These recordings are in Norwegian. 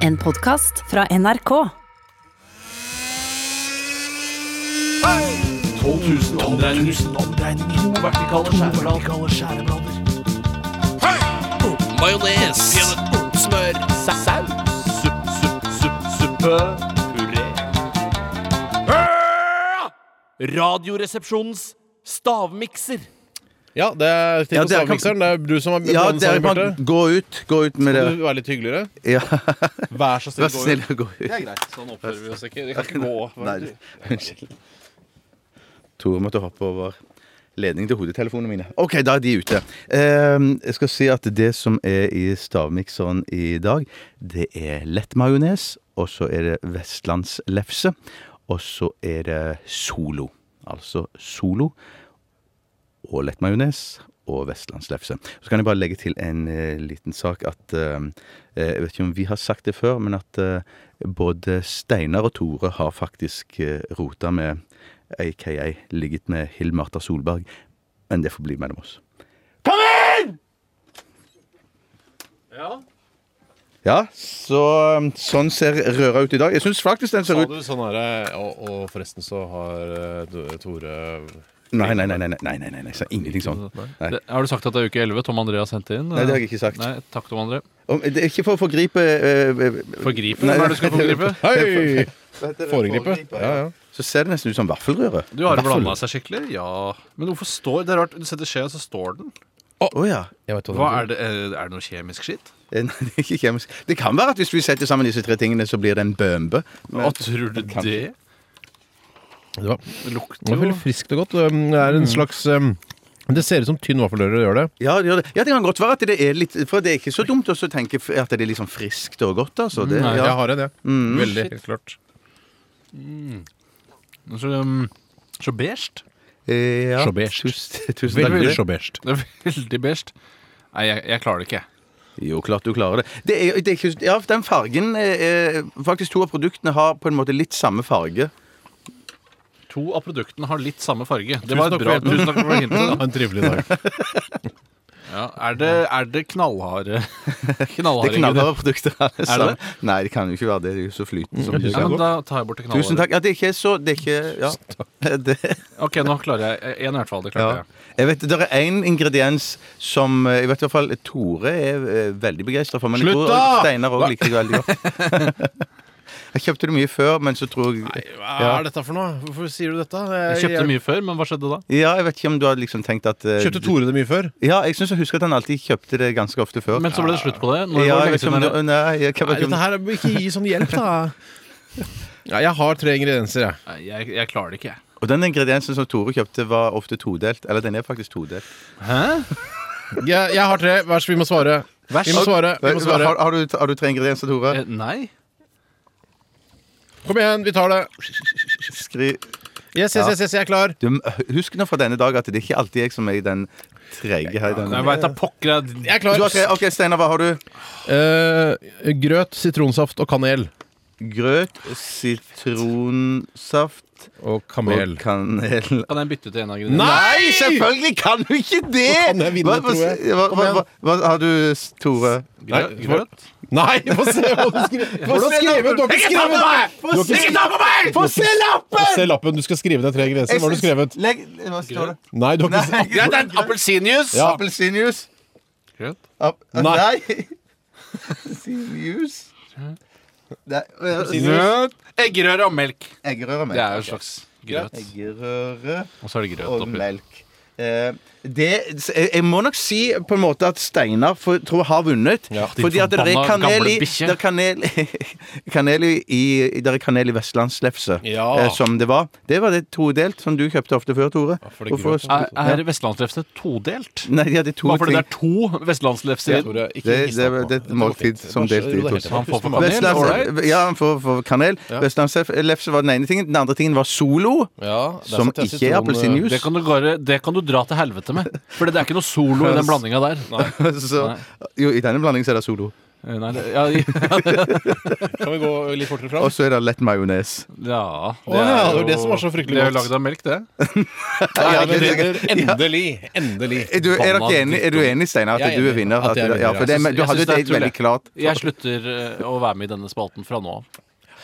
En podkast fra NRK. 12 000 omdreininger. To vertikale skjæreblader. Majones. Smør. Saus. Supp, supp, supp, suppe. Puré. Radioresepsjonens stavmikser. Ja, det er til Ja, på det er kamp- stavmikseren. Det er du som har Ja, planen, dere Sanne kan Marte. gå ut, gå ut med det. Kan du være litt hyggeligere? Ja, Vær så vær snill, så gå snill ut. gå ut. Det er greit. Sånn oppfører vi oss ikke. Vi kan ikke gå. Nei, unnskyld. Tore måtte hoppe over ledningen til hodetelefonene mine. OK, da er de ute. Ehm, Jeg skal si at det som er i stavmikseren i dag, det er lett majones, og så er det vestlandslefse, og så er det solo. Altså solo og lett majones og vestlandslefse. Så kan jeg bare legge til en eh, liten sak at eh, eh, Jeg vet ikke om vi har sagt det før, men at eh, både Steinar og Tore har faktisk eh, rota med aka ligget med Hill Marta Solberg. Men det får bli mellom oss. Ja. Ja, så um, sånn ser røra ut i dag. Jeg syns faktisk den ser Sa ut du sånn her og, og forresten så har eh, Do- Tore Nei, nei, nei. nei, nei, nei, nei, nei, nei. jeg sa Ingenting sånn. Nei. Det, har du sagt at det er uke 11? Tom André har sendt det inn? Nei, det har jeg ikke sagt. Nei, takk, Tom André. Om- Det er ikke for å forgripe eh, eh, Forgripe? Hva er det du skal forgripe? Hei! hva heter det? Foregripe. Ja, ja. Så ser det nesten ut som vaffelrøre. Du har Vaffel. blanda seg skikkelig? Ja. Men hvorfor står Det er rart. Du setter skje, og så står den. Å ja. Jeg vet Hva er det, eh, er det noe kjemisk skitt? Eh, Nei, det er ikke kjemisk. Det kan være at hvis vi setter sammen disse tre tingene, så blir det en bømbe. Hva tror du det? Det var, Det det var lukter jo veldig friskt og godt. Um, Det Mm. er en slags um, Det ser ut som tynn vaffelrøre gjør det. Ja, det, gjør det. ja, det kan godt være at det er litt For det er ikke så dumt også å tenke f- at det er liksom friskt og godt, altså. Det, Mm, Nei, Jeg ja. Mm. har en, jeg. Veldig. Helt klart. Mm. så, um, så beige. Eh, ja. Sjåbert. Tusen, tusen takk for Veldig det. sjåbert. Det er veldig beige. Nei, jeg, jeg klarer det ikke. Jo, klart du klarer det. det, er, det er ikke, ja, den fargen eh, eh, Faktisk to av produktene har på en måte litt samme farge. To av produktene har litt samme farge. Det var Tusen et takk bra for tusen takk for Ha hintet. en trivelig dag. Ja, er, det, er det knallharde Det Knallharde er knallharde produkter. alle sammen. det? Mm. Nei, det kan jo ikke være det. Det er jo så flytende som det Ja, kan. men da tar jeg bort det knallharde. Tusen takk. Ja, det er ikke så Det er ikke Ja. Det, Ok, nå klarer jeg én i hvert fall. Det Ja. klarte jeg. Jeg vet, Det er én ingrediens som eh, jeg vet i hvert fall Tore er eh, veldig begeistra for. Men jeg Slutt tror da! Steinar òg liker det veldig godt. Jeg kjøpte det mye før, men så tror jeg Hva Ja. er dette for noe? Hvorfor sier du dette? Jeg kjøpte mye før, men hva skjedde da? Ja, jeg vet ikke om du hadde liksom tenkt at eh, Kjøpte Tore det mye før? Ja, jeg syns jeg husker at han alltid kjøpte det ganske ofte før. Men så ble det slutt på det. Når ja, var det jeg vet lenge ikke om siden du, dere- nei, jeg, kan- Nei, dette her er- Ikke gi sånn hjelp, da. Ja, jeg har tre ingredienser, jeg. Nei, jeg, jeg klarer det ikke. jeg. Og den ingrediensen som Tore kjøpte, var ofte todelt. Eller den er faktisk todelt. Jeg, jeg har tre. Vær så vi må svare. Vi må svare. Vi må Har, svare. har, du, har du tre ingredienser, Tore? Eh, Nei? Kom igjen, vi tar det. Skri... Yes, yes, yes, yes jeg er klar. Du, husk nå fra denne dag at det er ikke alltid jeg som er i den trege her. i denne- Jeg veit da pokker jeg Jeg er Du klar. har tre- OK, Steinar, hva har du? Eh, grøt, sitronsaft og kanel. Grøt, sitronsaft Og og kamel. kanel. Kan jeg bytte til en av grunnene? Nei, selvfølgelig kan du ikke det! Nå kan jeg vinne, hva, hva, tror jeg. hva, Kom hva, igjen. hva, hva har du, s- Tore? Grø grøt? Nei, få se hva du skriver. Få se lappen! Du har ikke skrevet Du har ikke skrevet- Få se Få lappen! se lappen! Du skal skrive ned tre ingredienser. Hva har du skrevet? Legg Hva står det? Nei, du har ikke Nei, greit, det er en Appelsinjuice? Ja. Appelsinjuice. Grøt? App- Nei. Nei. Appelsinjuice. Nei, øh, Grøt. Eggerøre og melk. Eggerøre og Det er jo melk. en slags grøt. Eggerøre Og så er det grøt og oppi. melk. Eh, det, eh, jeg jeg må nok si på en måte at Steinar for, tror jeg har vunnet. din fordi at det er forbanna kanel i gamle bikkje. det er kanel, kanel i, i, det er kanel i vestlandslefse, Ja. eh, som det var. Det var det todelt, som du kjøpte ofte før, Tore. for det er Hvorfor- grøt. Er, er vestlandslefse todelt? Nei, de hadde to Bare fordi ting. det er to vestlandslefser? i- Tore, ikke Det- giss det- deg på. det er et Dette går måltid fint. som delt i Det er to. helt Han får for riktig. kanel, Vestlands- alright. Ja, han får for kanel. Ja. Vestlandslefse var den ene tingen. Den andre tingen var solo. Ja, det er Som sant, jeg ikke synes er noen, appelsinjuice. Det kan, du bare, det kan du dra til helvete med. For det er ikke noe solo i den blandinga der. Så, jo, I denne blandingen så er det solo. eh, Eh, Nei, det, ja, ja, Kan vi gå litt fortere fram? Og så er det lett majones. ja, Å ja, det var det som var så fryktelig Det er jo godt. lagd av melk, det. Ja, det- Endelig! Endelig. Er du, er dere enig, er du enig, Steinar, Jeg at er du er enig. vinner? At At, jeg er du- ja, vinner. for det, men, du Jeg hadde jo synes et det er helt veldig klart Jeg slutter eh, å være med i denne spalten fra nå av.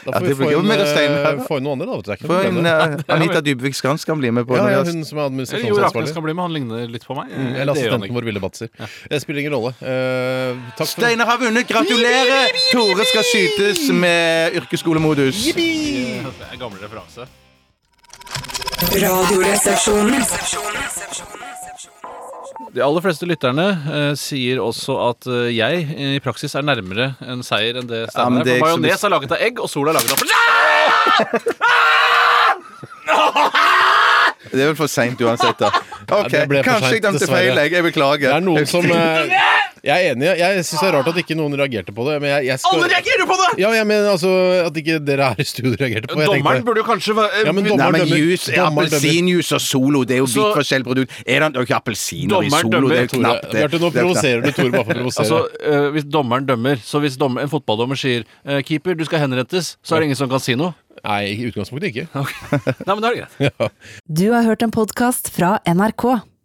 Da Ja, får det vi få blir jo inn, mer stein her, eh, da. få inn noen andre, da. vet du. Det er ikke For noe en, problem. eh, Anita Dybvik Skan skal bli med Ja, på ja, når vi hun har- som er Eller Jo Raknes administrasjonsansvarlig. kan bli med, han ligner litt på meg. Eh, Eller det gjør han assistenten ikke. vår, Ville Batzer. Det spiller ingen rolle. Eh, takk for Steinar har vunnet! Gratulerer! Tore skal skytes med yrkesskolemodus. Det er en Gammel referanse. Radioresepsjonen. De aller fleste lytterne eh, sier også at eh, jeg eh, i praksis er nærmere en seier enn det Ja, men Steinar det er. er For ikke så majones er laget av egg, og Sol er laget av Ah! Det er vel for seint uansett, da. Ok, det ble for Kanskje jeg sent, dømte dessverre. feil. jeg. Jeg beklager. Det er noen som eh, Jeg er enig. Jeg syns det er rart at ikke noen reagerte på det. Men jeg, jeg skal... Alle reagerer på det! Ja, jeg mener altså at ikke dere her i studio reagerte på det. Jeg tenkte- Dommeren burde jo kanskje være Ja, men Nei, dommeren men dømmer. juice, Dommeren dømmer. appelsinjuice og Solo, det er jo Så- vidt forskjellig produkt. Er det ikke appelsiner i Dommeren Solo? Det er jo knapt dømmer, Tore, det. Bjarte, nå Det er knapt. provoserer du Tore bare for å provosere. Altså, eh, hvis dommeren dømmer Så hvis dommer, en fotballdommer sier eh, 'keeper, du skal henrettes', så er det ingen som kan si noe? Nei, i utgangspunktet ikke. Nei, men da er det greit. Du har hørt en podkast fra NRK.